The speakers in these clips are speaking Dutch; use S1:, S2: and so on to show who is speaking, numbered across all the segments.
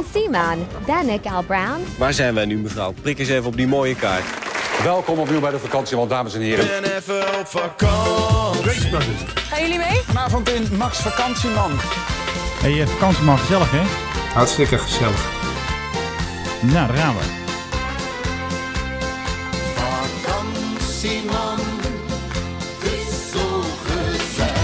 S1: Vakantiemaan, Danik Al Brown.
S2: Waar zijn wij nu, mevrouw? Prik eens even op die mooie kaart.
S3: Welkom opnieuw bij de vakantie, want dames en heren.
S4: ben even op vakantie.
S5: Race Brothers.
S6: Gaan jullie mee?
S3: Vanavond in Max Vakantieman.
S7: Hey, eh, vakantie maar gezellig, hè?
S5: Hartstikke gezellig.
S7: Nou, daar gaan we.
S4: Vakantieman is zo gezellig.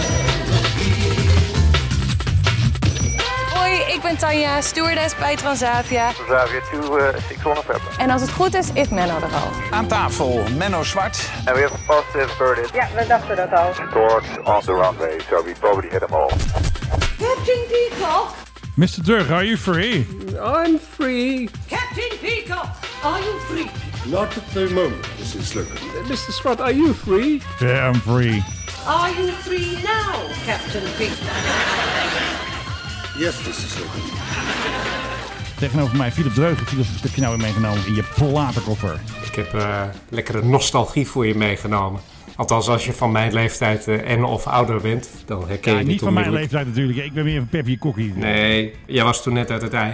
S6: Hoi, ik ben Tanja, stewardess bij Transavia.
S8: Transavia 2600 November.
S6: En als het goed is, is Menno er al.
S3: Aan tafel, Menno Zwart.
S8: And we have a positive verdict.
S9: Ja, we dachten dat al.
S8: Torques on the runway, so we probably hit them all.
S9: Captain Peacock!
S7: Mr. Dirk, are you free?
S10: I'm free.
S9: Captain Peacock! Are you free?
S5: Not at the moment, Mrs. Slugger.
S10: Mr. Swart, are you free?
S7: Yeah, I'm free.
S9: Are you free now, Captain Peacock?
S5: Yes, Mrs. Slugger.
S7: Tegenover mij Philip Dreugen. Philip, wat heb je nou weer meegenomen in je platenkoffer?
S10: Ik heb eh, lekkere nostalgie voor je meegenomen. Althans, als je van mijn leeftijd eh, en of ouder bent, dan herken
S7: Ja,
S10: je dit
S7: niet van mijn
S10: onmiddellijk.
S7: leeftijd natuurlijk. Ik ben meer een Pepje Kokkie.
S10: Nee, jij was toen net uit het ei.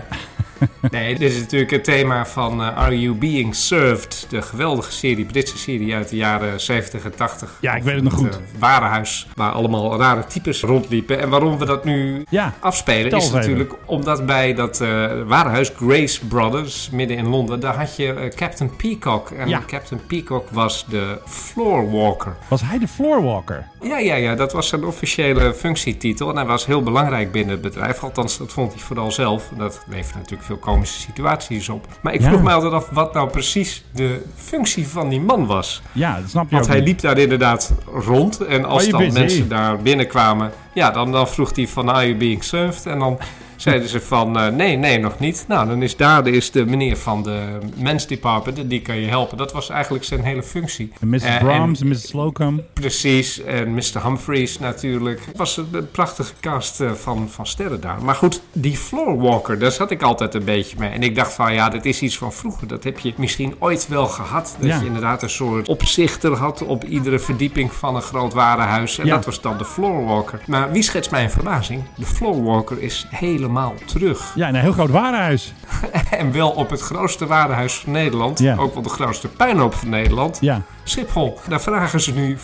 S10: Nee, dit is natuurlijk het thema van eh, Are You Being Served? De geweldige serie, Britse serie uit de jaren 70 en 80.
S7: Ja, ik weet het nog goed.
S10: eh, warenhuis, waar allemaal rare types rondliepen. En waarom we dat nu
S7: Ja,
S10: afspelen
S7: vertel
S10: is
S7: eens even.
S10: natuurlijk omdat bij dat eh, warenhuis Grace Brothers midden in Londen, daar had je eh, Captain Peacock. En
S7: Ja.
S10: Captain Peacock was de floorwalker.
S7: Was hij de floorwalker?
S10: Ja, ja, ja, dat was zijn officiële functietitel. En hij was heel belangrijk binnen het bedrijf. Althans, dat vond hij vooral zelf. En Dat levert natuurlijk veel komische situaties op. Maar ik
S7: Ja.
S10: vroeg mij altijd af wat nou precies de functie van die man was.
S7: Ja, dat snap je
S10: Want
S7: ook
S10: hij
S7: niet. Oh,
S10: liep daar inderdaad rond. En als
S7: Are you
S10: dan
S7: busy?
S10: mensen daar binnenkwamen, ja, dan, dan vroeg hij van, are you being served? En dan zeiden ze van, eh, nee, nee, nog niet. Nou, dan is daar de, is de meneer van de mens department en die kan je helpen. Dat was eigenlijk zijn hele functie.
S7: En Mrs.
S10: Eh, en-
S7: Brahms en Mrs. Slocum.
S10: Precies, en Mr. Humphries natuurlijk. Het was een, een prachtige cast eh, van, van sterren daar. Maar goed, die floorwalker, daar zat ik altijd een beetje mee. En ik dacht van, ja, dat is iets van vroeger. Dat heb je misschien ooit wel gehad. Dat
S7: Ja.
S10: je inderdaad een soort opzichter had op iedere verdieping van een groot warenhuis. En
S7: Ja.
S10: dat was dan de floorwalker. Maar wie schetst mijn verbazing? De floorwalker is helemaal terug.
S7: Ja, in een heel groot warenhuis.
S10: En wel op het grootste warenhuis van Nederland.
S7: Ja.
S10: Ook wel de grootste puinhoop van Nederland.
S7: Ja,
S10: Schiphol, daar vragen ze nu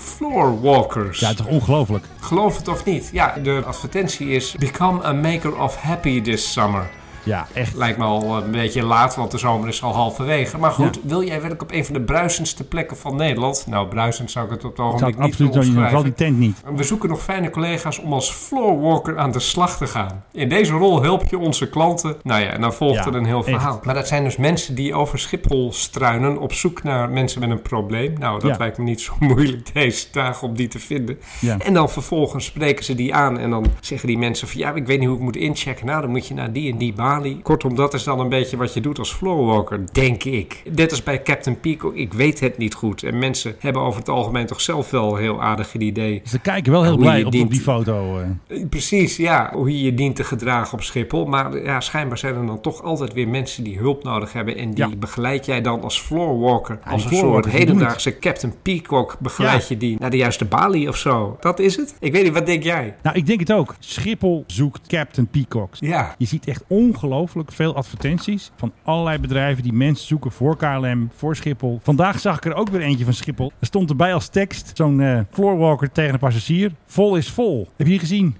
S10: floorwalkers.
S7: ja toch ongelooflijk.
S10: Geloof het of niet. Ja, de advertentie is Become a Maker of Happy this summer.
S7: Ja, echt.
S10: Lijkt me al een beetje laat, want de zomer is al halverwege. Maar goed, wil jij werken op een van de bruisendste plekken van Nederland? Nou, bruisend zou ik het op het
S7: Ik zou
S10: ogenblik
S7: het
S10: niet
S7: absoluut
S10: willen
S7: niet doen. Vooral die
S10: omschrijven.
S7: tent niet.
S10: We zoeken nog fijne collega's om als floorwalker aan de slag te gaan. In deze rol help je onze klanten. Nou ja, en dan volgt
S7: Ja,
S10: er een heel
S7: echt.
S10: verhaal. Maar dat zijn dus mensen die over Schiphol struinen op zoek naar mensen met een probleem. Nou, dat
S7: Ja.
S10: lijkt me niet zo moeilijk deze dagen om die te vinden.
S7: Ja.
S10: En dan vervolgens spreken ze die aan en dan zeggen die mensen van ja, ik weet niet hoe ik moet inchecken. Nou, dan moet je naar die en die balie. Kortom, dat is dan een beetje wat je doet als floorwalker, denk ik. Net als bij Captain Peacock, ik weet het niet goed. En mensen hebben over het algemeen toch zelf wel een heel aardig het idee.
S7: Ze kijken wel heel
S10: Hoe
S7: blij
S10: je
S7: op, op die
S10: dient.
S7: foto. eh.
S10: Eh, Precies, ja, hoe je je dient te gedragen op Schiphol. Maar eh, ja, schijnbaar zijn er dan toch altijd weer mensen die hulp nodig hebben. En die
S7: Ja.
S10: begeleid jij dan als floorwalker.
S7: Ja,
S10: als
S7: die
S10: een soort
S7: floorwalkers, die doen
S10: hedendaagse Captain Peacock begeleid
S7: Ja.
S10: je die naar de juiste balie of zo. Dat is het. Ik weet niet, wat denk jij?
S7: Nou, ik denk het ook. Schiphol zoekt Captain Peacocks.
S10: Ja.
S7: Je ziet echt ongelooflijk veel advertenties van allerlei bedrijven die mensen zoeken voor KLM, voor Schiphol. Vandaag zag ik er ook weer eentje van Schiphol. Er stond erbij als tekst zo'n eh, floorwalker tegen een passagier. Vol is vol. Heb je die gezien?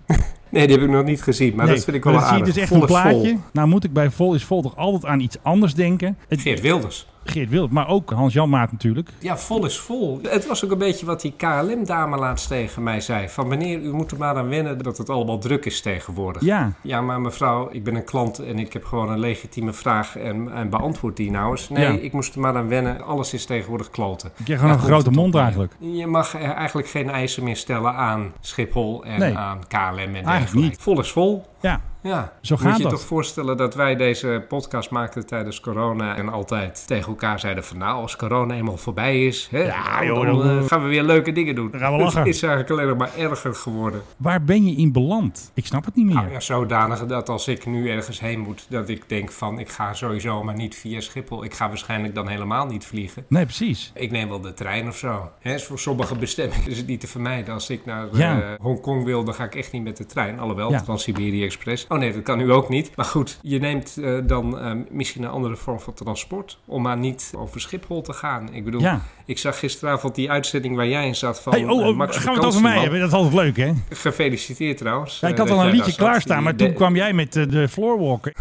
S10: Nee, die heb ik nog niet gezien, maar dat vind ik wel
S7: maar dan
S10: aardig.
S7: zie je dus echt
S10: Vol
S7: een
S10: is vol.
S7: plaatje. Nou moet ik bij vol is vol toch altijd aan iets anders denken. Het,
S10: Geert Wilders.
S7: Geert Wild, maar ook Hans-Jan Maat natuurlijk.
S10: Ja, vol is vol. Het was ook een beetje wat die KLM-dame laatst tegen mij zei. Van meneer, u moet er maar aan wennen dat het allemaal druk is tegenwoordig.
S7: Ja,
S10: Ja, maar mevrouw, ik ben een klant en ik heb gewoon een legitieme vraag en, en beantwoord die nou eens. Nee,
S7: Ja.
S10: ik moest er maar aan wennen. Alles is tegenwoordig kloten.
S7: ik heb gewoon
S10: Ja,
S7: een
S10: goed,
S7: grote
S10: tot
S7: mond
S10: nu.
S7: eigenlijk.
S10: Je mag er eigenlijk geen eisen meer stellen aan Schiphol en
S7: Nee.
S10: aan KLM en
S7: niet.
S10: dergelijke. Vol is vol.
S7: Ja,
S10: Ja,
S7: Zo
S10: moet
S7: gaat
S10: je
S7: dat.
S10: toch voorstellen dat wij deze podcast maakten tijdens corona en altijd tegen elkaar zeiden van nou, als corona eenmaal voorbij is, hè,
S7: Ja,
S10: dan,
S7: joh,
S10: eh,
S7: dan-
S10: gaan we weer leuke dingen doen.
S7: Dan gaan we lachen.
S10: Het is eigenlijk alleen nog maar erger geworden.
S7: waar ben je in beland? Ik snap het niet meer.
S10: Nou ja, zodanig dat als ik nu ergens heen moet, dat ik denk van ik ga sowieso maar niet via Schiphol. Ik ga waarschijnlijk dan helemaal niet vliegen.
S7: Nee, precies.
S10: Ik neem wel de trein of zo. Hè, is voor sommige bestemmingen is het niet te vermijden. Als ik naar eh,
S7: Ja.
S10: Hongkong wil, dan ga ik echt niet met de trein. Alhoewel,
S7: Ja.
S10: Trans-Siberië AliExpress. Oh nee, dat kan nu ook niet. Maar goed, je neemt eh, dan eh, misschien een andere vorm van transport. Om maar niet over Schiphol te gaan. Ik bedoel,
S7: Ja.
S10: ik zag gisteravond die uitzending waar jij in zat van
S7: Hey, oh,
S10: eh,
S7: oh,
S10: Max
S7: gaan we het over mij
S10: Vakantieman.
S7: hebben? Dat is altijd leuk, hè?
S10: Gefeliciteerd trouwens.
S7: Ja, ik
S10: eh,
S7: had
S10: dat
S7: al een
S10: jij
S7: liedje
S10: daar zat.
S7: klaarstaan, maar
S10: Die-
S7: toen kwam jij met eh, de floorwalker.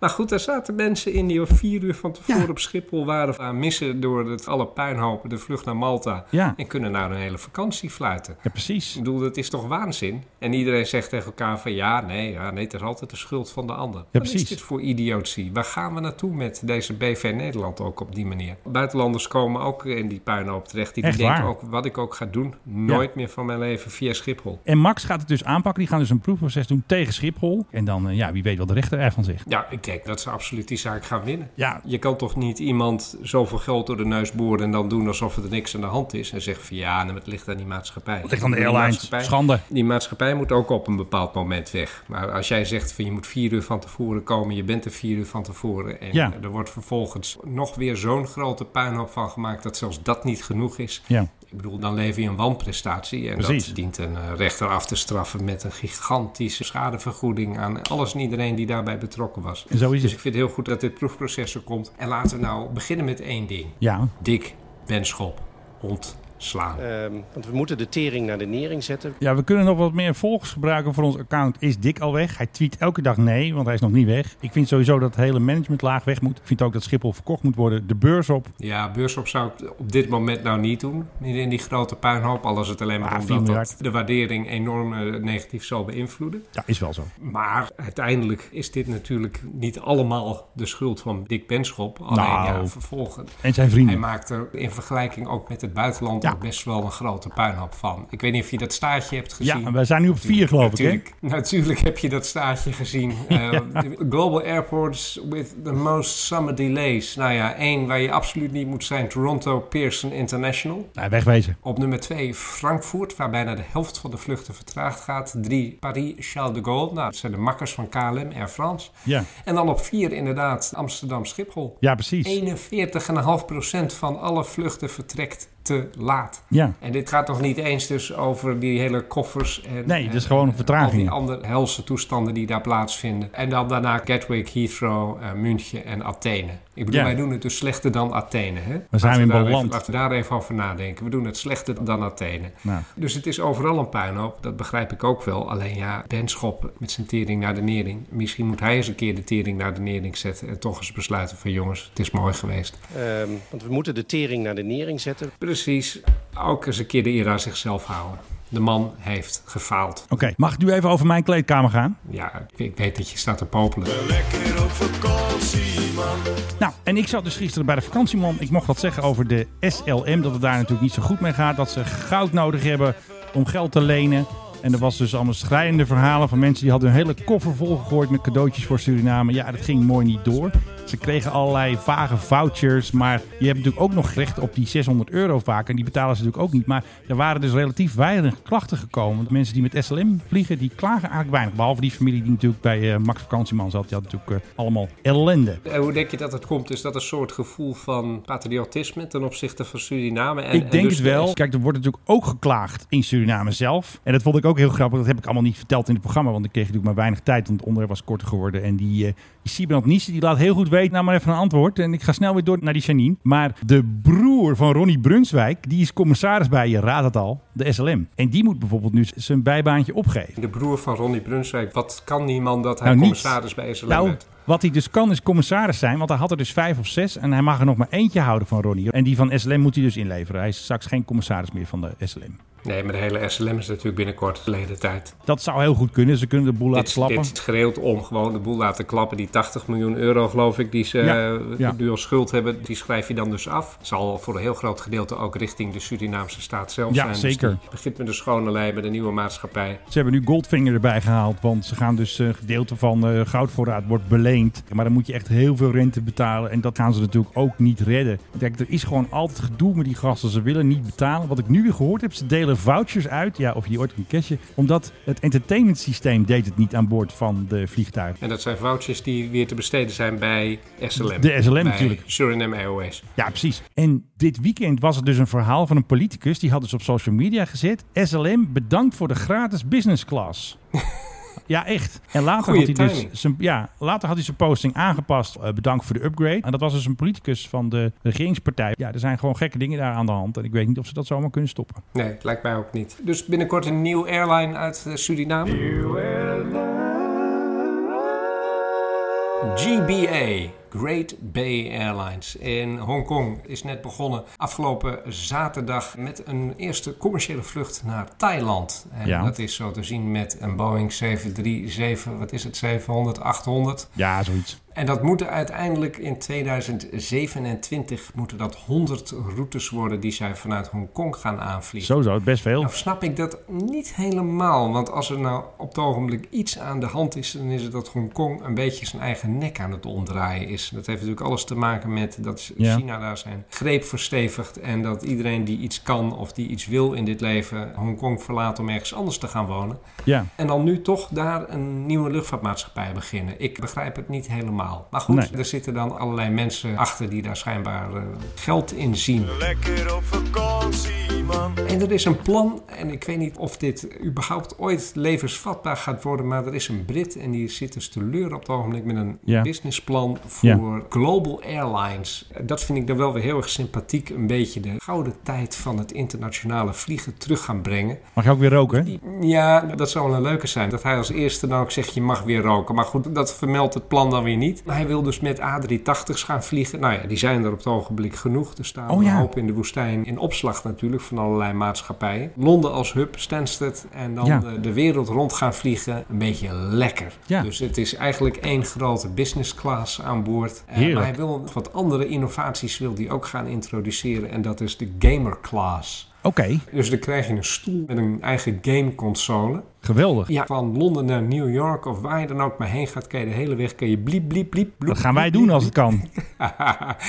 S10: Maar goed, daar zaten mensen in die om vier uur van tevoren op Schiphol waren aan missen door het alle puinhopen, de vlucht naar Malta.
S7: Ja.
S10: En kunnen nou een hele vakantie fluiten.
S7: Ja,
S10: Ik
S7: precies.
S10: bedoel, dat is toch waanzin? En iedereen zegt tegen elkaar van ja, nee, ja, nee, het is altijd de schuld van de ander. Wat
S7: precies.
S10: is dit voor idiotie? Waar gaan we naartoe met deze BV Nederland ook op die manier? Buitenlanders komen ook in die puinhoop terecht. Die
S7: Echt
S10: denken
S7: waar.
S10: ook, wat ik ook ga doen, nooit meer van mijn leven via Schiphol.
S7: En Max gaat het dus aanpakken. Die gaan dus een proefproces doen tegen Schiphol. En dan, eh, ja, wie weet wat de rechter ervan zegt.
S10: Ja, ik denk dat ze absoluut die zaak gaan winnen.
S7: Ja,
S10: Je kan toch niet iemand zoveel geld door de neus boren en dan doen alsof er niks aan de hand is. En zeggen van ja, nee, het ligt aan die maatschappij.
S7: ligt aan de
S10: Die
S7: airlines.
S10: maatschappij-
S7: Schande.
S10: Die maatschappij moet ook op een bepaald moment weg. Maar als jij zegt van je moet vier uur van tevoren komen, je bent er vier uur van tevoren. En
S7: Ja.
S10: er wordt vervolgens nog weer zo'n grote puinhoop van gemaakt dat zelfs dat niet genoeg is.
S7: Ja.
S10: Ik bedoel, dan lever je een wanprestatie. En
S7: Precies.
S10: dat dient een eh, rechter af te straffen met een gigantische schadevergoeding aan alles en iedereen die daarbij betrokken was.
S7: En zo is
S10: Dus
S7: het.
S10: ik vind het heel goed dat dit proefproces er komt. En laten we nou beginnen met één ding.
S7: Ja,
S10: Dick Benschop ontslaan.
S1: want we moeten de tering naar de nering zetten.
S7: Ja, we kunnen nog wat meer volgers gebruiken voor ons account. Is Dick al weg? Hij tweet elke dag nee, want hij is nog niet weg. Ik vind sowieso dat het hele managementlaag weg moet. Ik vind ook dat Schiphol verkocht moet worden. De beurs op.
S10: Ja, beursop zou ik op dit moment nou niet doen. Niet in die grote puinhoop. Al is het alleen maar
S7: Ah, 4
S10: omdat dat
S7: miljard.
S10: de waardering enorm eh, negatief zal beïnvloeden.
S7: Ja, is wel zo.
S10: Maar uiteindelijk is dit natuurlijk niet allemaal de schuld van Dick Benschop. Alleen
S7: Nou.
S10: ja, vervolgens.
S7: En zijn
S10: Hij
S7: vrienden.
S10: maakt er in vergelijking ook met het buitenland
S7: Ja.
S10: ook best wel een grote puinhoop van. Ik weet niet of je dat staartje hebt gezien.
S7: Ja, we zijn nu op vier, geloof ik. Hè?
S10: Natuurlijk, natuurlijk heb je dat staartje gezien. Eh, Global airports with the most summer delays. Nou ja, één waar je absoluut niet moet zijn. Toronto Pearson International.
S7: Nee, Nou, wegwezen.
S10: Op nummer twee Frankfurt, waar bijna de helft van de vluchten vertraagd gaat. Drie Paris Charles de Gaulle. Nou, dat zijn de makkers van KLM, Air France.
S7: Ja,
S10: En dan op vier inderdaad Amsterdam Schiphol.
S7: ja precies.
S10: 41,5% van alle vluchten vertrekt te laat.
S7: Ja.
S10: En dit gaat nog niet eens dus over die hele koffers en
S7: Nee, dat is
S10: en,
S7: gewoon een
S10: eh,
S7: vertraging.
S10: Al die andere helse toestanden die daar plaatsvinden. En dan daarna Gatwick, Heathrow, eh, München en Athene. Ik bedoel,
S7: Ja.
S10: wij doen het dus slechter dan Athene. Hè?
S7: We zijn
S10: Laten
S7: in
S10: daar even-
S7: balans.
S10: Laten we daar even over nadenken. We doen het slechter dan Athene.
S7: Nou.
S10: Dus het is overal een puinhoop, dat begrijp ik ook wel. Alleen ja, Ben Schop met zijn tering naar de nering. Misschien moet hij eens een keer de tering naar de nering zetten... en toch eens besluiten van jongens, het is mooi geweest.
S1: Ehm, want we moeten de tering naar de nering zetten.
S10: Precies, ook eens een keer de eer aan zichzelf houden. De man heeft gefaald.
S7: Oké, mag ik nu even over mijn kleedkamer gaan?
S10: Ja, ik- ik weet dat je staat te popelen.
S4: Lekker op vakantie, man.
S7: Nou, en ik zat dus gisteren bij de vakantieman. Ik mocht wat zeggen over de SLM, dat het daar natuurlijk niet zo goed mee gaat. Dat ze goud nodig hebben om geld te lenen. En er was dus allemaal schrijnende verhalen van mensen die hadden hun hele koffer vol gegooid met cadeautjes voor Suriname. Ja, dat ging mooi niet door. Ze kregen allerlei vage vouchers, maar je hebt natuurlijk ook nog recht op die 600 euro vaak. En die betalen ze natuurlijk ook niet. Maar er waren dus relatief weinig klachten gekomen. De mensen die met SLM vliegen, die klagen eigenlijk weinig. Behalve die familie die natuurlijk bij eh, Max Vakantieman zat. Die had natuurlijk eh, allemaal ellende.
S10: En hoe denk je dat het komt? Is dat een soort gevoel van patriotisme ten opzichte van Suriname? En,
S7: ik
S10: en
S7: denk
S10: dus
S7: het wel. Kijk, er wordt natuurlijk ook geklaagd in Suriname zelf. En dat vond ik ook heel grappig. Dat heb ik allemaal niet verteld in het programma. Want ik kreeg natuurlijk maar weinig tijd. Want het onderwerp was korter geworden. En die, eh die Sibrand Nissen, die laat heel goed weten. Nou maar even een antwoord. En ik ga snel weer door naar die Janine. Maar de broer van Ronnie Brunswijk. Die is commissaris bij, je raadt het al, de SLM. En die moet bijvoorbeeld nu z- zijn bijbaantje opgeven.
S10: De broer van Ronnie Brunswijk. Wat kan die man dat hij
S7: Nou, niets.
S10: commissaris bij SLM
S7: Nou,
S10: werd?
S7: wat hij dus kan is commissaris zijn, want hij had er dus vijf of zes en hij mag er nog maar eentje houden van Ronnie. En die van SLM moet hij dus inleveren. Hij is straks geen commissaris meer van de SLM.
S10: Nee, maar de hele SLM is natuurlijk binnenkort verleden tijd.
S7: Dat zou heel goed kunnen. Ze kunnen de boel laten
S10: Dit,
S7: slappen.
S10: dit schreeuwt om gewoon de boel laten klappen. Die 80 miljoen euro, geloof ik, die ze
S7: Ja,
S10: eh,
S7: ja.
S10: nu als schuld hebben, die schrijf je dan dus af. Zal voor een heel groot gedeelte ook richting de Surinaamse staat zelf
S7: Ja,
S10: zijn. Dus
S7: zeker.
S10: die begint met de schone lei, met de nieuwe maatschappij.
S7: Ze hebben nu Goldfinger erbij gehaald, want ze gaan dus eh, een gedeelte van eh, goudvoorraad wordt beleend. Maar dan moet je echt heel veel rente betalen en dat gaan ze natuurlijk ook niet redden. Kijk, er is gewoon altijd gedoe met die gasten. Ze willen niet betalen. Wat ik nu weer gehoord heb, ze delen vouchers uit. Ja, of je die ooit kan cashen. Omdat het entertainment systeem deed het niet aan boord van de vliegtuig.
S10: En dat zijn vouchers die weer te besteden zijn bij SLM.
S7: De SLM
S10: Bij
S7: natuurlijk.
S10: Suriname Airways.
S7: Ja, precies. En dit weekend was er dus een verhaal van een politicus. Die had dus op social media gezet. SLM, bedankt voor de gratis business class. Ja, echt. En later
S10: Goeie
S7: had, hij dus
S10: timing.
S7: zijn, ja, later had hij zijn posting aangepast. Eh, bedankt voor de upgrade. En dat was dus een politicus van de regeringspartij. Ja, er zijn gewoon gekke dingen daar aan de hand. En ik weet niet of ze dat zomaar kunnen stoppen.
S10: Nee, lijkt mij ook niet. Dus binnenkort een nieuw airline uit eh, Suriname. GBA, Great Bay Airlines in Hongkong, is net begonnen afgelopen zaterdag met een eerste commerciële vlucht naar Thailand. En
S7: Ja.
S10: dat is zo te zien met een Boeing 737, wat is het, 700, 800.
S7: Ja, zoiets.
S10: En dat moeten uiteindelijk in 2027 moeten dat 100 routes worden die zij vanuit Hongkong gaan aanvliegen.
S7: Zo zou best veel.
S10: Nou snap ik dat niet helemaal, want als er nou op het ogenblik iets aan de hand is, dan is het dat Hongkong een beetje zijn eigen nek aan het omdraaien is. Dat heeft natuurlijk alles te maken met dat
S7: Ja.
S10: China daar zijn greep verstevigt en dat iedereen die iets kan of die iets wil in dit leven Hongkong verlaat om ergens anders te gaan wonen.
S7: Ja.
S10: En dan nu toch daar een nieuwe luchtvaartmaatschappij beginnen. Ik begrijp het niet helemaal. Maar goed,
S7: Nee.
S10: er zitten dan allerlei mensen achter die daar schijnbaar eh, geld in zien.
S4: Lekker op vakantie, man.
S10: En er is een plan, en ik weet niet of dit überhaupt ooit levensvatbaar gaat worden, maar er is een Brit en die zit dus te leuren op het ogenblik met een
S7: Ja.
S10: businessplan
S7: Ja.
S10: voor Global Airlines. Dat vind ik dan wel weer heel erg sympathiek, een beetje de gouden tijd van het internationale vliegen terug gaan brengen.
S7: Mag je ook weer roken? hè?
S10: Ja, dat zou wel een leuke zijn. Dat hij als eerste nou ook zegt, je mag weer roken. Maar goed, dat vermeldt het plan dan weer niet. Maar hij wil dus met A380's gaan vliegen. Nou ja, die zijn er op het ogenblik genoeg. Er staan
S7: Oh
S10: een
S7: ja.
S10: hoop in de woestijn in opslag natuurlijk van allerlei maatschappijen. Londen als hub, Stansted. En dan
S7: Ja.
S10: de, de wereld rond gaan vliegen. Een beetje lekker.
S7: Ja.
S10: Dus het is eigenlijk één grote business class aan boord. Eh,
S7: Heerlijk.
S10: maar hij wil wat andere innovaties wil die ook gaan introduceren. En dat is de gamer class.
S7: Oké,
S10: Dus dan krijg je een stoel met een eigen gameconsole.
S7: geweldig.
S10: Ja, van Londen naar New York of waar je dan ook maar heen gaat, kan je de hele weg kan je bliep, bliep, bliep. bloep,
S7: Dat gaan wij
S10: bliep,
S7: doen als het kan.
S10: bliep.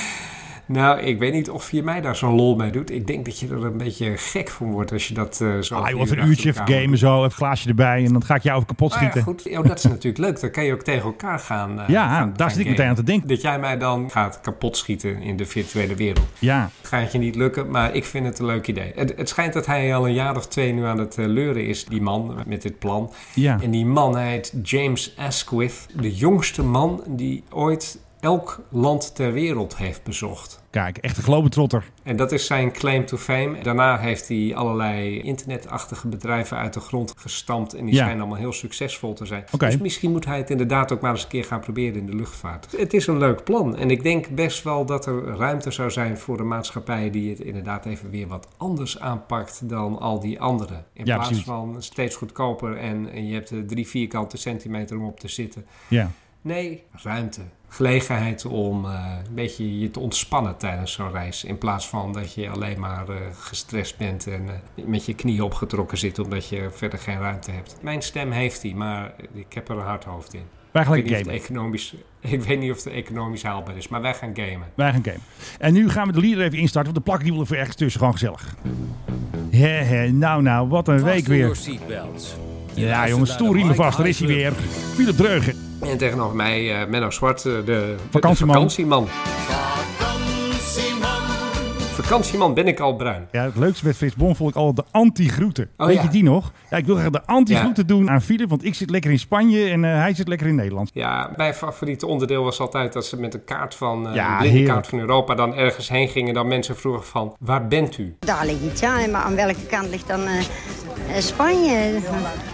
S10: nou, ik weet niet of je mij daar zo'n lol mee doet. Ik denk dat je er een beetje gek van wordt als je dat eh zo...
S7: Ah,
S10: vier
S7: joh, even een
S10: achter
S7: uurtje even
S10: elkaar
S7: gamen zo, even een glaasje erbij en dan ga ik jou even kapot
S10: Maar Oh ja,
S7: schieten.
S10: goed, joh, dat is natuurlijk leuk. Dan kan je ook tegen elkaar gaan. eh,
S7: Ja,
S10: gaan- gaan
S7: daar zit ik meteen
S10: gamen.
S7: aan te denken.
S10: Dat jij mij dan gaat kapot schieten in de virtuele wereld.
S7: Ja,
S10: Het gaat je niet lukken, maar ik vind het een leuk idee. Het, het schijnt dat hij al een jaar of twee nu aan het eh, leuren is, die man, met dit plan.
S7: ja.
S10: En die man heet James Asquith, de jongste man die ooit elk land ter wereld heeft bezocht.
S7: Kijk, echt een globetrotter.
S10: En dat is zijn claim to fame. Daarna heeft hij allerlei internetachtige bedrijven uit de grond gestampt. En die
S7: Ja.
S10: zijn allemaal heel succesvol te zijn.
S7: Oké.
S10: Dus misschien moet hij het inderdaad ook maar eens een keer gaan proberen in de luchtvaart. Het is een leuk plan. En ik denk best wel dat er ruimte zou zijn voor een maatschappij die het inderdaad even weer wat anders aanpakt dan al die anderen. In
S7: Ja,
S10: plaats
S7: precies.
S10: van steeds goedkoper en, en je hebt eh, drie vierkante centimeter om op te zitten.
S7: Ja.
S10: Nee, ruimte. Gelegenheid om eh, een beetje je te ontspannen tijdens zo'n reis. In plaats van dat je alleen maar eh, gestrest bent en eh, met je knieën opgetrokken zit omdat je verder geen ruimte hebt. Mijn stem heeft die, maar ik heb er een hard hoofd in.
S7: Wij gaan
S10: Ik
S7: lekker
S10: weet, niet of
S7: gamen.
S10: het economisch, ik weet niet of het economisch haalbaar is, maar wij gaan gamen.
S7: Wij gaan gamen. En nu gaan we de leader even instarten, want de plak die wil er voor ergens tussen. Gewoon gezellig. Hè, hè, nou, nou, wat een week weer. Ja, jongens, stoelriemen vast. Er is hij weer. Philip Dreugen.
S10: En tegenover mij eh, Menno Zwart, eh, de,
S7: Vakantieman.
S10: de vakantieman. Vakantieman ben ik al bruin.
S7: Ja, het leukste met Frits Bon vond ik al de anti-groeten.
S10: Oh,
S7: Weet
S10: ja.
S7: je die nog? Ja, ik wil graag de anti-groeten doen aan Philip, want ik zit lekker in Spanje en eh, hij zit lekker in Nederland.
S10: Ja, mijn favoriete onderdeel was altijd dat ze met een kaart van, eh
S7: Ja,
S10: een blinde
S7: heerlijk.
S10: kaart van Europa dan ergens heen gingen. En dan mensen vroegen van, waar bent u?
S11: Daar ligt iets aan, maar aan welke kant ligt dan eh, eh, Spanje?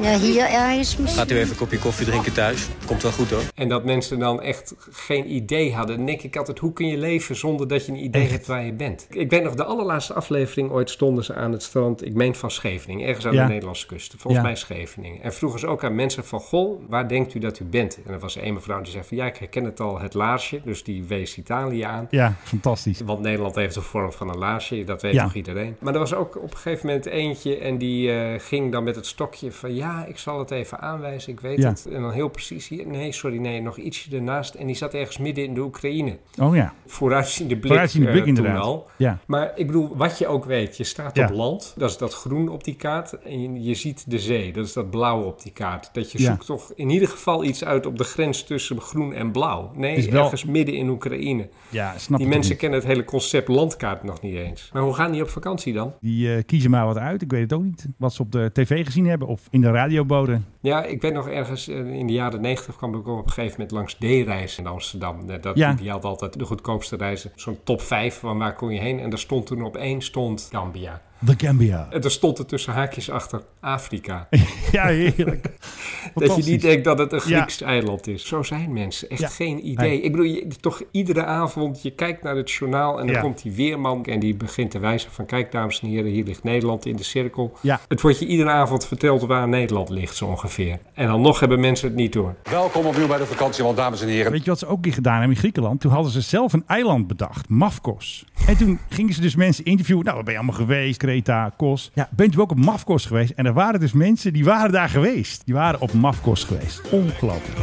S11: Ja, hier ergens misschien.
S2: Gaat u even een kopje koffie drinken thuis? Komt wel goed hoor.
S10: En dat mensen dan echt geen idee hadden. Dan denk ik altijd, hoe kun je leven zonder dat je een idee hebt waar je bent? Ik weet nog, de allerlaatste aflevering ooit stonden ze aan het strand. Ik meen van Scheveningen, ergens aan
S7: Ja.
S10: de Nederlandse kust. Volgens
S7: Ja.
S10: mij Scheveningen. En vroegen ze ook aan mensen van, goh, waar denkt u dat u bent? En er was één mevrouw die zei van, ja, ik herken het al, het laarsje. Dus die wees Italië aan.
S7: Ja, fantastisch.
S10: Want Nederland heeft de vorm van een laarsje, dat weet
S7: Ja.
S10: nog iedereen. Maar er was ook op een gegeven moment eentje en die eh, ging dan met het stokje van... ja, ik zal het even aanwijzen, ik weet
S7: Ja.
S10: het. En dan heel precies hier, nee, sorry, nee, nog ietsje ernaast. En die zat ergens midden in de Oekraïne.
S7: Oh ja,
S10: Vooruitziende blik,
S7: vooruitziende
S10: eh,
S7: blik
S10: toen
S7: inderdaad.
S10: al.
S7: Ja,
S10: Maar ik bedoel, wat je ook weet, je staat
S7: Ja.
S10: op land, dat is dat groen op die kaart. En je, je ziet de zee, dat is dat blauw op die kaart. Dat je
S7: Ja.
S10: zoekt toch in ieder geval iets uit op de grens tussen groen en blauw.
S7: Is
S10: Nee,
S7: wel-
S10: ergens midden in Oekraïne.
S7: ja snap
S10: Die
S7: ik
S10: mensen
S7: niet.
S10: kennen het hele concept landkaart nog niet eens. Maar hoe gaan die op vakantie dan?
S7: Die eh, kiezen maar wat uit. Ik weet het ook niet wat ze op de de tv gezien hebben of in de radioboden.
S10: Ja, ik weet nog ergens eh, in de jaren 90 kwam ik op een gegeven moment langs D-reis in Amsterdam. Eh, Dat,
S7: Ja.
S10: Die had altijd de goedkoopste reizen. Zo'n top 5 van waar kon je heen. En daar stond toen op één stond Gambia.
S7: The Gambia.
S10: En er stond er tussen haakjes achter Afrika.
S7: Ja, heerlijk.
S10: Dat je
S7: Fantastisch.
S10: niet denkt dat het een
S7: Ja.
S10: Grieks eiland is. Zo zijn mensen. Echt
S7: Ja.
S10: geen idee.
S7: Nee.
S10: Ik bedoel, je, toch iedere avond, je kijkt naar het journaal en dan
S7: Ja.
S10: komt die weerman en die begint te wijzen van kijk dames en heren, hier ligt Nederland in de cirkel.
S7: Ja.
S10: Het wordt je iedere avond verteld waar Nederland ligt zo ongeveer. En dan nog hebben mensen het niet door.
S3: Welkom opnieuw bij de vakantie, want dames en heren.
S7: Weet je wat ze ook een keer gedaan hebben in Griekenland? Toen hadden ze zelf een eiland bedacht, Mafkos. En toen gingen ze dus mensen interviewen. Nou, waar ben je allemaal geweest? Kreta, Kos. Ja, bent u ook op Mafkos geweest? En er waren dus mensen die waren daar geweest. Die waren op Mafkos geweest. Ongelooflijk.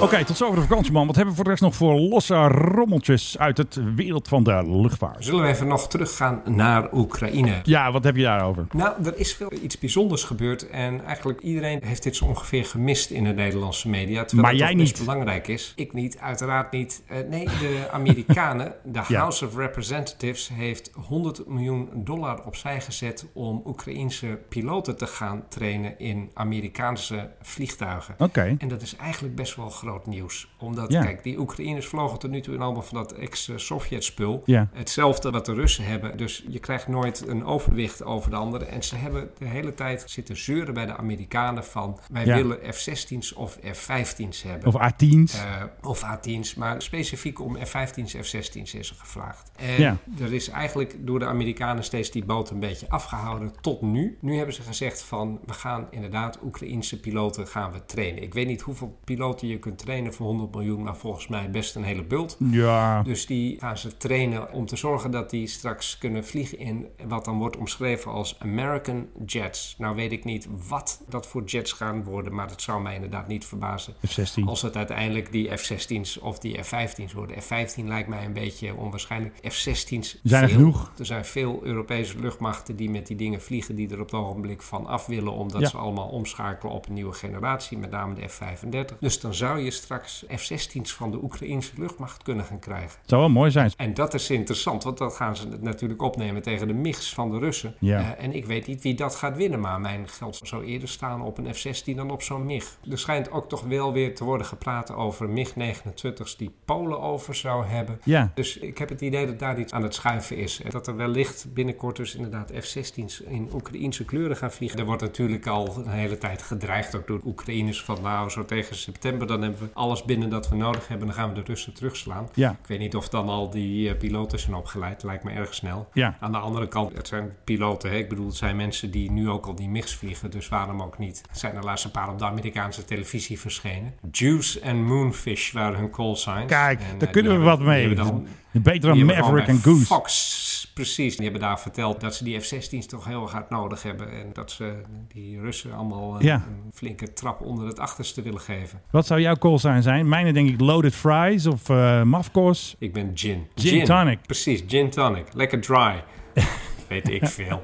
S7: Oké, tot zover de vakantieman. Wat hebben we voor de rest nog voor losse rommeltjes uit het wereld van de luchtvaart?
S10: Zullen we even nog teruggaan naar Oekraïne?
S7: Ja, wat heb je daarover?
S10: Nou, er is wel iets bijzonders gebeurd. En eigenlijk iedereen heeft dit zo ongeveer gemist in de Nederlandse media. Terwijl
S7: Maar
S10: het
S7: jij
S10: toch best
S7: niet.
S10: belangrijk is. Ik niet, uiteraard niet. Eh, nee, de Amerikanen, de
S7: Ja.
S10: House of Representatives, heeft 100 miljoen dollar opzij gezet om Oekraïense piloten te gaan trainen in Amerikaanse vliegtuigen.
S7: Oké.
S10: En dat is eigenlijk best wel groot nieuws. Omdat,
S7: Ja.
S10: kijk, die Oekraïners vlogen tot nu toe in allemaal van dat ex-Sovjet-spul.
S7: Ja.
S10: Hetzelfde wat de Russen hebben. Dus je krijgt nooit een overwicht over de anderen. En ze hebben de hele tijd zitten zeuren bij de Amerikanen van... wij
S7: Ja.
S10: willen F-16's of F-15's hebben.
S7: Of A10's.
S10: Eh, of A10's, maar specifiek om F-15's, F-16's is er gevraagd. En
S7: Ja.
S10: er is eigenlijk door de Amerikanen steeds die boot een beetje afgehouden tot nu. Nu hebben ze gezegd van, we gaan inderdaad Oekraïense piloten gaan we trainen. Ik weet niet hoeveel piloten je kunt trainen voor 100 miljoen, maar volgens mij best een hele bult.
S7: Ja.
S10: Dus die gaan ze trainen om te zorgen dat die straks kunnen vliegen in wat dan wordt omschreven als American Jets. Nou weet ik niet wat dat voor jets gaan worden, maar dat zou mij inderdaad niet verbazen.
S7: F-16.
S10: Als het uiteindelijk die F-16's of die F-15's worden. F-15 lijkt mij een beetje onwaarschijnlijk. F-16's
S7: Zijn er
S10: veel.
S7: genoeg?
S10: Er zijn veel Europese luchtmachten die met die dingen vliegen die er op het ogenblik van af willen, omdat
S7: Ja.
S10: ze allemaal omschakelen op een nieuwe generatie, met name de F-35. Dus dan zou je straks F-16's van de Oekraïnse luchtmacht kunnen gaan krijgen.
S7: Het zou wel mooi zijn.
S10: En dat is interessant, want dat gaan ze natuurlijk opnemen tegen de MIGs van de Russen.
S7: Ja.
S10: Eh, en ik weet niet wie dat gaat winnen, maar mijn geld zou eerder staan op een F-16 dan op zo'n MIG. Er schijnt ook toch wel weer te worden gepraat over MIG-29's die Polen over zou hebben.
S7: Ja.
S10: Dus ik heb het idee dat daar iets aan het schuiven is. En dat er wellicht binnenkort dus inderdaad F-16's in Oekraïnse kleuren gaan vliegen. Er wordt natuurlijk al een hele tijd gedreigd, ook door Oekraïners, van nou zo tegen september dan hebben we alles binnen dat we nodig hebben. Dan gaan we de Russen terugslaan.
S7: Ja.
S10: Ik weet niet of dan al die eh, piloten zijn opgeleid. Lijkt me erg snel.
S7: Ja.
S10: Aan de andere kant, het zijn piloten. Hè? Ik bedoel, het zijn mensen die nu ook al die MIGs vliegen. Dus waarom ook niet? Er zijn er laatst een paar op de Amerikaanse televisie verschenen. Juice en Moonfish waren hun call signs.
S7: Kijk,
S10: En, eh,
S7: daar
S10: die
S7: kunnen we
S10: hebben-
S7: wat mee.
S10: die hebben dan-
S7: Beter
S10: die
S7: dan
S10: hebben gewoon
S7: Maverick en
S10: bij
S7: Goose.
S10: Fox, precies. Die hebben daar verteld dat ze die F-16's toch heel erg hard nodig hebben. En dat ze die Russen allemaal eh,
S7: Ja.
S10: een flinke trap onder het achterste willen geven.
S7: Wat zou jouw call zijn? zijn? Mijne denk ik Loaded Fries of eh Mafkos.
S10: Ik ben gin.
S7: Gin tonic.
S10: Precies, gin tonic. Lekker dry. Weet ik veel.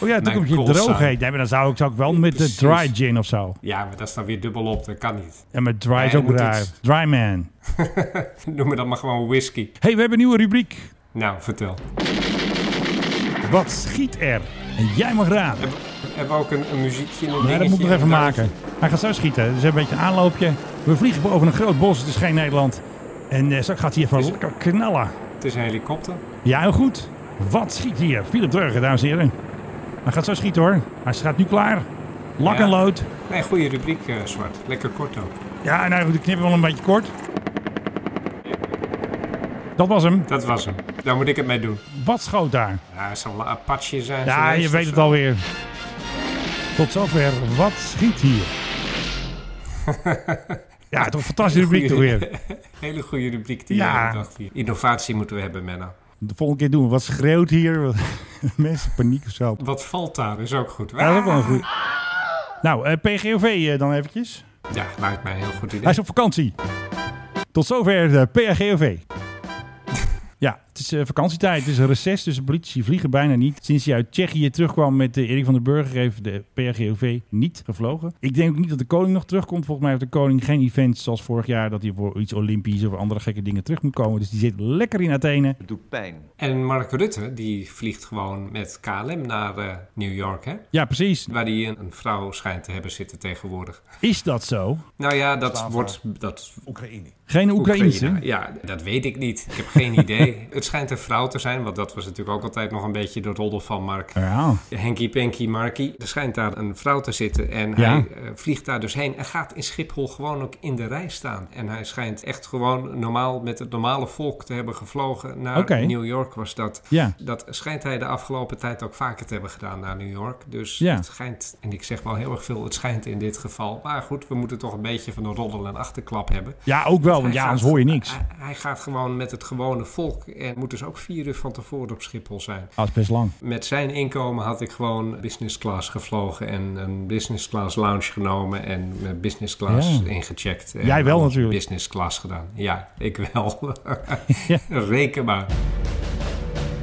S7: Oh ja, toen
S10: Mijn
S7: komt je
S10: call
S7: droogheid.
S10: sign.
S7: Nee, maar dan zou ik, zou ik wel met de
S10: Precies.
S7: dry gin of zo.
S10: Ja, maar dat is dan weer dubbel op. Dat kan niet.
S7: En met dry is
S10: Nee,
S7: ook
S10: moet
S7: dry.
S10: iets.
S7: Dry man.
S10: Noem me dan maar gewoon whisky.
S7: hey, we hebben een nieuwe rubriek.
S10: Nou, vertel.
S7: Wat schiet er? En jij mag raden.
S10: Hebben we ook een, een muziekje in een
S7: Nee, dat
S10: dingetje?
S7: moet ik nog even
S10: Een
S7: maken.
S10: dingetje?
S7: Hij gaat zo schieten. Dus een beetje een aanloopje. We vliegen boven een groot bos. Het is geen Nederland. En eh, zo gaat hij even lekker knallen.
S10: Het is een helikopter.
S7: Ja, heel goed. Wat schiet hier? Philip Dreugen, dames en heren. Hij gaat zo schieten hoor. Hij staat nu klaar. Lak
S10: Ja.
S7: en lood.
S10: Nee, goede rubriek, eh, Zwart. Lekker kort ook.
S7: Ja, en eigenlijk knippen we wel een beetje kort. Dat was hem.
S10: Dat was hem. Daar moet ik het mee doen.
S7: Wat schoot daar?
S10: Ja, het zal een Apache zijn
S7: Ja,
S10: geweest
S7: je
S10: of
S7: weet
S10: zo.
S7: het alweer. Tot zover. Wat schiet hier? ja, toch een fantastische rubriek toch weer.
S10: Hele goede rubriek die
S7: Ja.
S10: jij bedacht hier. Innovatie moeten we hebben, Menno.
S7: De volgende keer doen we wat schreeuwt hier. Mensen paniek of zo.
S10: Wat valt daar is ook goed.
S7: Ja, dat is ook wel een goed. Nou, eh, PGOV eh, dan eventjes.
S10: Ja, lijkt mij een heel goed idee.
S7: Hij is op vakantie. Tot zover de PRGOV. Ja, het Het is eh, vakantietijd, het is een recess, dus de politie vliegen bijna niet. Sinds hij uit Tsjechië terugkwam met eh, Erik van den Burger heeft de PRGOV niet gevlogen. Ik denk ook niet dat de koning nog terugkomt. Volgens mij heeft de koning geen events zoals vorig jaar... dat hij voor iets Olympisch of andere gekke dingen terug moet komen. Dus die zit lekker in Athene.
S10: Het doet pijn. En Mark Rutte, die vliegt gewoon met KLM naar eh, New York, hè?
S7: Ja, precies.
S10: Waar hij een, een vrouw schijnt te hebben zitten tegenwoordig.
S7: Is dat zo?
S10: Nou ja, dat wordt... Dat... Oekraïne.
S7: Geen Oekraïense?
S10: Ja, dat weet ik niet. Ik heb geen idee. Het schijnt een vrouw te zijn, want dat was natuurlijk ook altijd nog een beetje de roddel van Mark.
S7: Ja.
S10: Henky Panky Marky. Er schijnt daar een vrouw te zitten en
S7: Ja.
S10: hij eh, vliegt daar dus heen en gaat in Schiphol gewoon ook in de rij staan. En hij schijnt echt gewoon normaal met het normale volk te hebben gevlogen naar
S7: Oké.
S10: New York was dat.
S7: Ja.
S10: Dat schijnt hij de afgelopen tijd ook vaker te hebben gedaan naar New York. Dus
S7: Ja.
S10: het schijnt, en ik zeg wel heel erg veel, het schijnt in dit geval. Maar goed, we moeten toch een beetje van de roddel en achterklap hebben. Dus
S7: Ja, ook wel, want ja,
S10: Hij
S7: anders
S10: gaat-
S7: hoor je niks.
S10: Hij, hij gaat gewoon met het gewone volk en moet dus ook vier uur van tevoren op Schiphol zijn.
S7: Dat Ah, is best lang.
S10: Met zijn inkomen had ik gewoon business class gevlogen en een business class lounge genomen en mijn business class
S7: Ja.
S10: ingecheckt. En
S7: Jij wel
S10: alles
S7: natuurlijk.
S10: Business class gedaan. Ja, ik wel. Reken maar.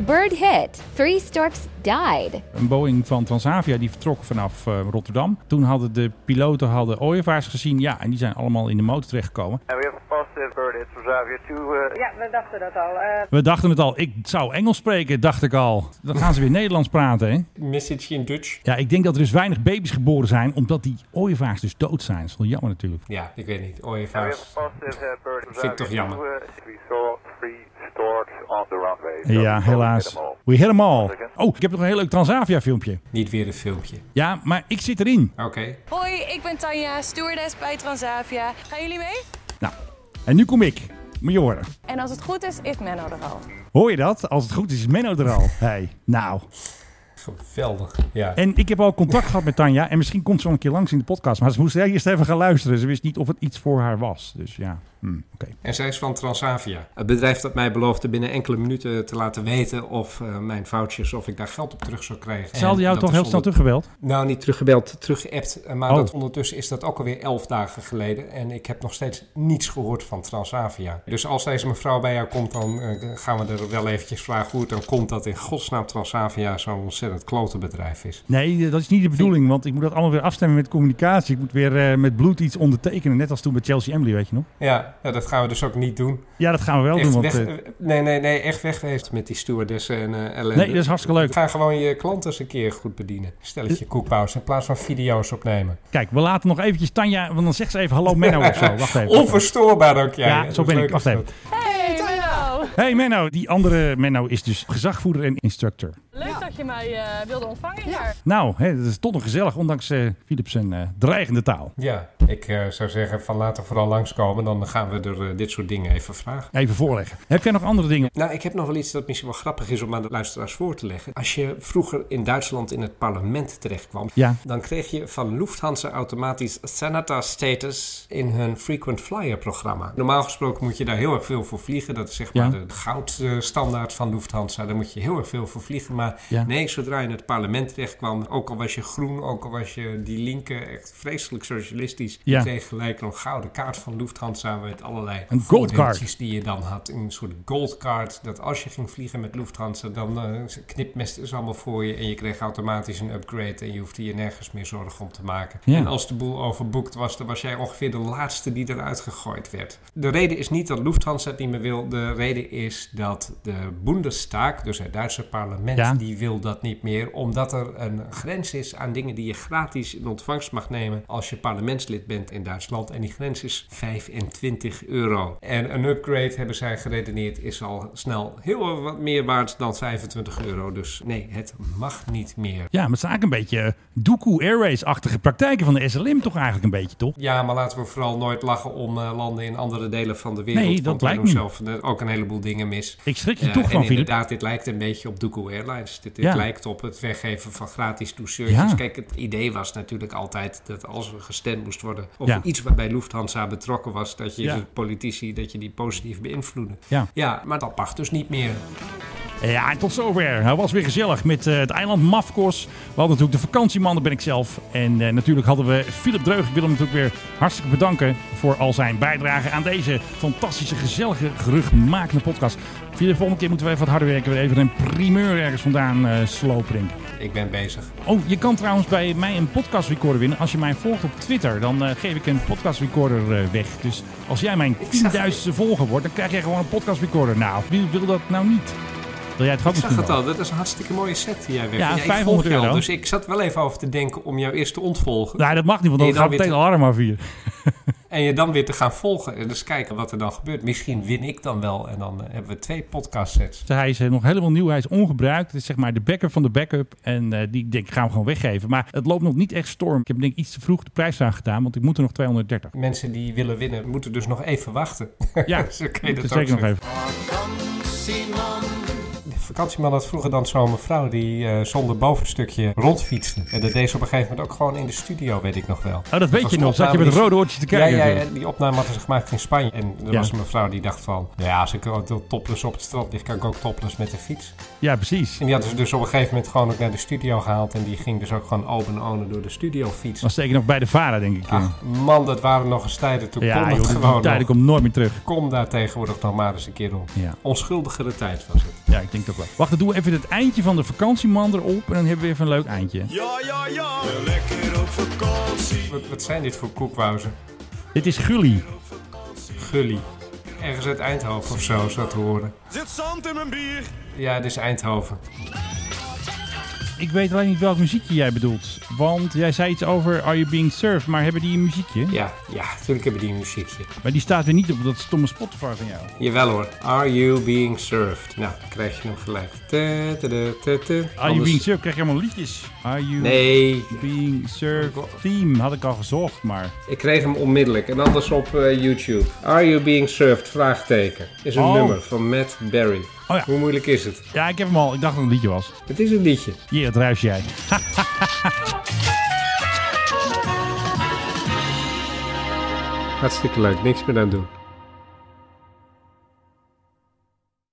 S12: Bird hit. Three storks died.
S7: Een Boeing van Transavia die vertrok vanaf eh, Rotterdam. Toen hadden de piloten hadden ooievaars gezien. Ja, en die zijn allemaal in de motor terechtgekomen.
S8: And we have a positive bird hit from Xavier 2. Uh,
S9: Ja, we dachten dat al. Eh,
S7: We dachten het al, ik zou Engels spreken, dacht ik al. Dan gaan ze weer Nederlands praten, hè?
S10: Message in Dutch.
S7: Ja, ik denk dat er dus weinig baby's geboren zijn, omdat die ooievaars dus dood zijn. Dat is wel jammer natuurlijk.
S10: Ja, ik weet niet.
S8: and
S10: Oh,
S8: we
S10: Ooievaars.
S8: have a positive uh, bird from
S10: Vind ik toch
S8: Xavier 2.
S10: jammer.
S8: Uh, we saw three storks on the runway. So
S7: Ja,
S8: we probably hit
S7: helaas.
S8: them all.
S7: We hit them all. Oh, ik heb nog een heel leuk Transavia filmpje.
S10: Niet weer een filmpje.
S7: Ja, maar ik zit erin.
S10: Oké.
S6: Hoi, ik ben Tanja, stewardess bij Transavia. Gaan jullie mee?
S7: Nou, en nu kom ik. Moet je horen.
S6: En als het goed is, is Menno er al.
S7: Hoor je dat? Als het goed is, is Menno er al. Hey. Nou.
S10: Geweldig. Ja.
S7: En ik heb al contact gehad met Tanja. En misschien komt ze wel een keer langs in de podcast. Maar ze moest eerst even gaan luisteren. Ze wist niet of het iets voor haar was. Dus ja. Hm.
S10: En zij is van Transavia. Het bedrijf dat mij beloofde binnen enkele minuten te laten weten of eh, mijn vouchers, of ik daar geld op terug zou krijgen.
S7: Ze hadden
S10: En
S7: jou
S10: dat
S7: toch
S10: is
S7: heel snel
S10: onder-
S7: teruggebeld?
S10: Nou, niet teruggebeld, teruggeappt. Eh, Maar
S7: Oh.
S10: dat ondertussen is dat ook alweer elf dagen geleden. En ik heb nog steeds niets gehoord van Transavia. Dus als deze mevrouw bij jou komt, dan eh, gaan we er wel eventjes vragen hoe het dan komt dat in godsnaam Transavia zo'n ontzettend klote bedrijf is.
S7: Nee, eh, dat is niet de bedoeling. Want ik moet dat allemaal weer afstemmen met communicatie. Ik moet weer eh, met bloed iets ondertekenen. Net als toen bij Chelsea Emily, weet je nog?
S10: Ja, ja, dat gaan we dus ook niet doen.
S7: Ja, dat gaan we wel
S10: Echt
S7: doen. Want,
S10: weg-
S7: eh,
S10: eh, nee, nee, nee, echt wegwezen met die stewardessen en eh ellende.
S7: Nee, dat is hartstikke leuk.
S10: Ga gewoon je klanten eens een keer goed bedienen. Stelletje koekpauze in plaats van video's opnemen.
S7: kijk, we laten nog eventjes Tanja... Want dan zegt ze even hallo Menno Nou, of zo. Wacht even.
S10: Onverstoorbaar ook, jij.
S7: Ja,
S10: Dat
S7: zo
S10: is
S7: ben ik.
S10: leuk,
S7: Wacht
S10: is
S7: even.
S10: dat.
S6: Hey, Menno!
S7: Hey Menno, die andere Menno is dus gezagvoerder en instructor.
S6: Leuk dat je mij eh, wilde ontvangen hier.
S7: Nou, hè, dat is toch nog gezellig, ondanks eh Philips zijn eh, dreigende taal.
S10: Ja, ik eh, zou zeggen van laten vooral langskomen. Dan gaan we er eh, dit soort dingen even vragen.
S7: Even voorleggen. Heb jij nog andere dingen?
S10: Nou, ik heb nog wel iets dat misschien wel grappig is om aan de luisteraars voor te leggen. Als je vroeger in Duitsland in het parlement terechtkwam,
S7: Ja.
S10: dan kreeg je van Lufthansa automatisch Senator status in hun frequent flyer programma. Normaal gesproken moet je daar heel erg veel voor vliegen. Dat is zeg maar
S7: Ja.
S10: de goudstandaard van Lufthansa. Daar moet je heel erg veel voor vliegen. Maar
S7: Ja.
S10: nee, zodra je in het parlement terechtkwam, ook al was je groen, ook al was je die linker, echt vreselijk socialistisch,
S7: Ja.
S10: je kreeg gelijk een gouden kaart van Lufthansa met allerlei
S7: Een gold
S10: voordeeltjes die je dan had. Een soort goldcard. Dat als je ging vliegen met Lufthansa, dan eh knipmest is allemaal voor je. En je kreeg automatisch een upgrade. En je hoefde je nergens meer zorgen om te maken.
S7: Ja.
S10: En als de boel overboekt was, dan was jij ongeveer de laatste die eruit gegooid werd. De reden is niet dat Lufthansa het niet meer wil. De reden is dat de Bundestag, dus het Duitse parlement,
S7: Ja.
S10: die wil dat niet meer. Omdat er een grens is aan dingen die je gratis in ontvangst mag nemen als je parlementslid bent in Duitsland. En die grens is 25 euro. En een upgrade, hebben zij geredeneerd, is al snel heel erg wat meer waard dan 25 euro. Dus nee, het mag niet meer.
S7: Ja, maar het zijn eigenlijk een beetje eh, Doekoe Airways-achtige praktijken van de SLM toch eigenlijk een beetje, toch?
S10: Ja, maar laten we vooral nooit lachen om eh, landen in andere delen van de wereld.
S7: Nee,
S10: want
S7: dat
S10: wij
S7: lijkt
S10: doen
S7: me.
S10: zelf eh, ook een heleboel dingen mis.
S7: Ik schrik je
S10: Eh,
S7: toch van,
S10: En
S7: Philip.
S10: inderdaad, dit lijkt een beetje op Doekoe Airlines. Dit, dit
S7: Ja.
S10: lijkt op het weggeven van gratis doucheurtjes.
S7: Ja.
S10: Kijk, het idee was natuurlijk altijd dat als er gestemd moest worden... over
S7: Ja.
S10: iets waarbij Lufthansa betrokken was... dat je
S7: Ja.
S10: de politici, dat je die positief beïnvloedde.
S7: Ja.
S10: ja, maar dat mag dus niet meer.
S7: Ja, en tot zover. Hij was weer gezellig met eh, het eiland Mafkos. We hadden natuurlijk de vakantieman, dat ben ik zelf. En eh, natuurlijk hadden we Philip Dreug. Ik wil hem natuurlijk weer hartstikke bedanken voor al zijn bijdrage aan deze fantastische, gezellige, geruchtmakende podcast. Voor de volgende keer moeten we even wat harder werken. We even een primeur ergens vandaan eh slopen, denk ik.
S10: Ik ben bezig.
S7: Oh, je kan trouwens bij mij een podcast recorder winnen. Als je mij volgt op Twitter, dan eh, geef ik een podcast recorder eh, weg. Dus als jij mijn 10.000ste volger wordt, dan krijg jij gewoon een podcast recorder. Nou, wie wil dat nou niet? Wil jij het ook
S10: Ik zag
S7: misschien
S10: het
S7: wel?
S10: al, dat is een hartstikke mooie set die jij weer
S7: Ja,
S10: vindt. ik
S7: 500
S10: volg jou,
S7: euro.
S10: Dus ik zat wel even over te denken om jou eerst te ontvolgen.
S7: Nee, dat mag niet, want
S10: En je
S7: dan gaat
S10: nou weer
S7: meteen de
S10: te-
S7: alarm af hier.
S10: En je dan weer te gaan volgen en dus kijken wat er dan gebeurt. Misschien win ik dan wel en dan eh, hebben we twee podcast sets.
S7: Dus hij is eh, nog helemaal nieuw, hij is ongebruikt. Het is zeg maar de backup van de backup. En eh, die denk ik, gaan we gewoon weggeven. Maar het loopt nog niet echt storm. Ik heb denk ik iets te vroeg de prijs aan gedaan, want ik moet er nog 230.
S10: Mensen die willen winnen moeten dus nog even wachten.
S7: Ja,
S10: Zo kun je
S7: moet
S10: dat
S7: er
S10: ook
S7: zeker nog
S10: zeggen.
S7: even.
S10: De vakantieman had vroeger dan zo'n mevrouw die eh, zonder bovenstukje rondfietste. En dat deed ze op een gegeven moment ook gewoon in de studio, weet ik nog wel.
S7: Oh, dat weet
S10: was
S7: je
S10: een
S7: nog. Zat je
S10: opname
S7: met
S10: die-
S7: rode oortjes te kijken
S10: Ja, ja,
S7: natuurlijk.
S10: die opname hadden ze gemaakt in Spanje. En er
S7: Ja.
S10: was een mevrouw die dacht van... nou Ja, als ik ook topless op het strand lig, kan ik ook topless met de fiets.
S7: Ja, precies.
S10: En die hadden ze dus op een gegeven moment gewoon ook naar de studio gehaald. En die ging dus ook gewoon open onen door de studio fietsen.
S7: Was zeker nog bij de Vara, denk ik. eh.
S10: Ach, man, dat waren nog eens tijden. Toen
S7: ja,
S10: kon
S7: joh,
S10: dat
S7: die
S10: Ah, gewoon
S7: tijden
S10: nog.
S7: komt nooit meer terug.
S10: Kom daar tegenwoordig nog maar eens een keer om.
S7: Ja.
S10: Onschuldigere tijd was het.
S7: Ja, ik denk dat wel. Wacht, dan doen we even het eindje van de vakantieman erop. En dan hebben we even een leuk eindje.
S4: Ja, ja, ja. Lekker op vakantie.
S10: Wat, wat zijn dit voor koekwauzen?
S7: Dit is Gully.
S10: Gully. Ergens uit Eindhoven of zo, is dat te horen.
S4: Zit zand in mijn bier.
S10: Ja, dit is Eindhoven.
S7: Ik weet alleen niet welk muziekje jij bedoelt. Want jij zei iets over Are You Being Served, maar hebben die een muziekje?
S10: Ja, ja, natuurlijk hebben die een muziekje.
S7: Maar die staat weer niet op dat stomme Spotify van jou.
S10: Jawel hoor. Are you being served? Nou, dan krijg je hem gelijk. Te, te, te, te, te.
S7: Are You
S10: Anders-
S7: Being Served krijg je allemaal liedjes. Are You
S10: Nee.
S7: Being Served theme had ik al gezocht, maar...
S10: Ik kreeg hem onmiddellijk en anders op eh, YouTube. Are you being served? Vraagteken. Is een
S7: Oh.
S10: nummer van Matt Berry.
S7: Oh ja.
S10: Hoe moeilijk is het?
S7: Ja, ik heb hem al. Ik dacht dat het een liedje was.
S10: Het is een liedje.
S7: Hier, het ruis jij.
S10: Hartstikke leuk. Niks meer aan doen.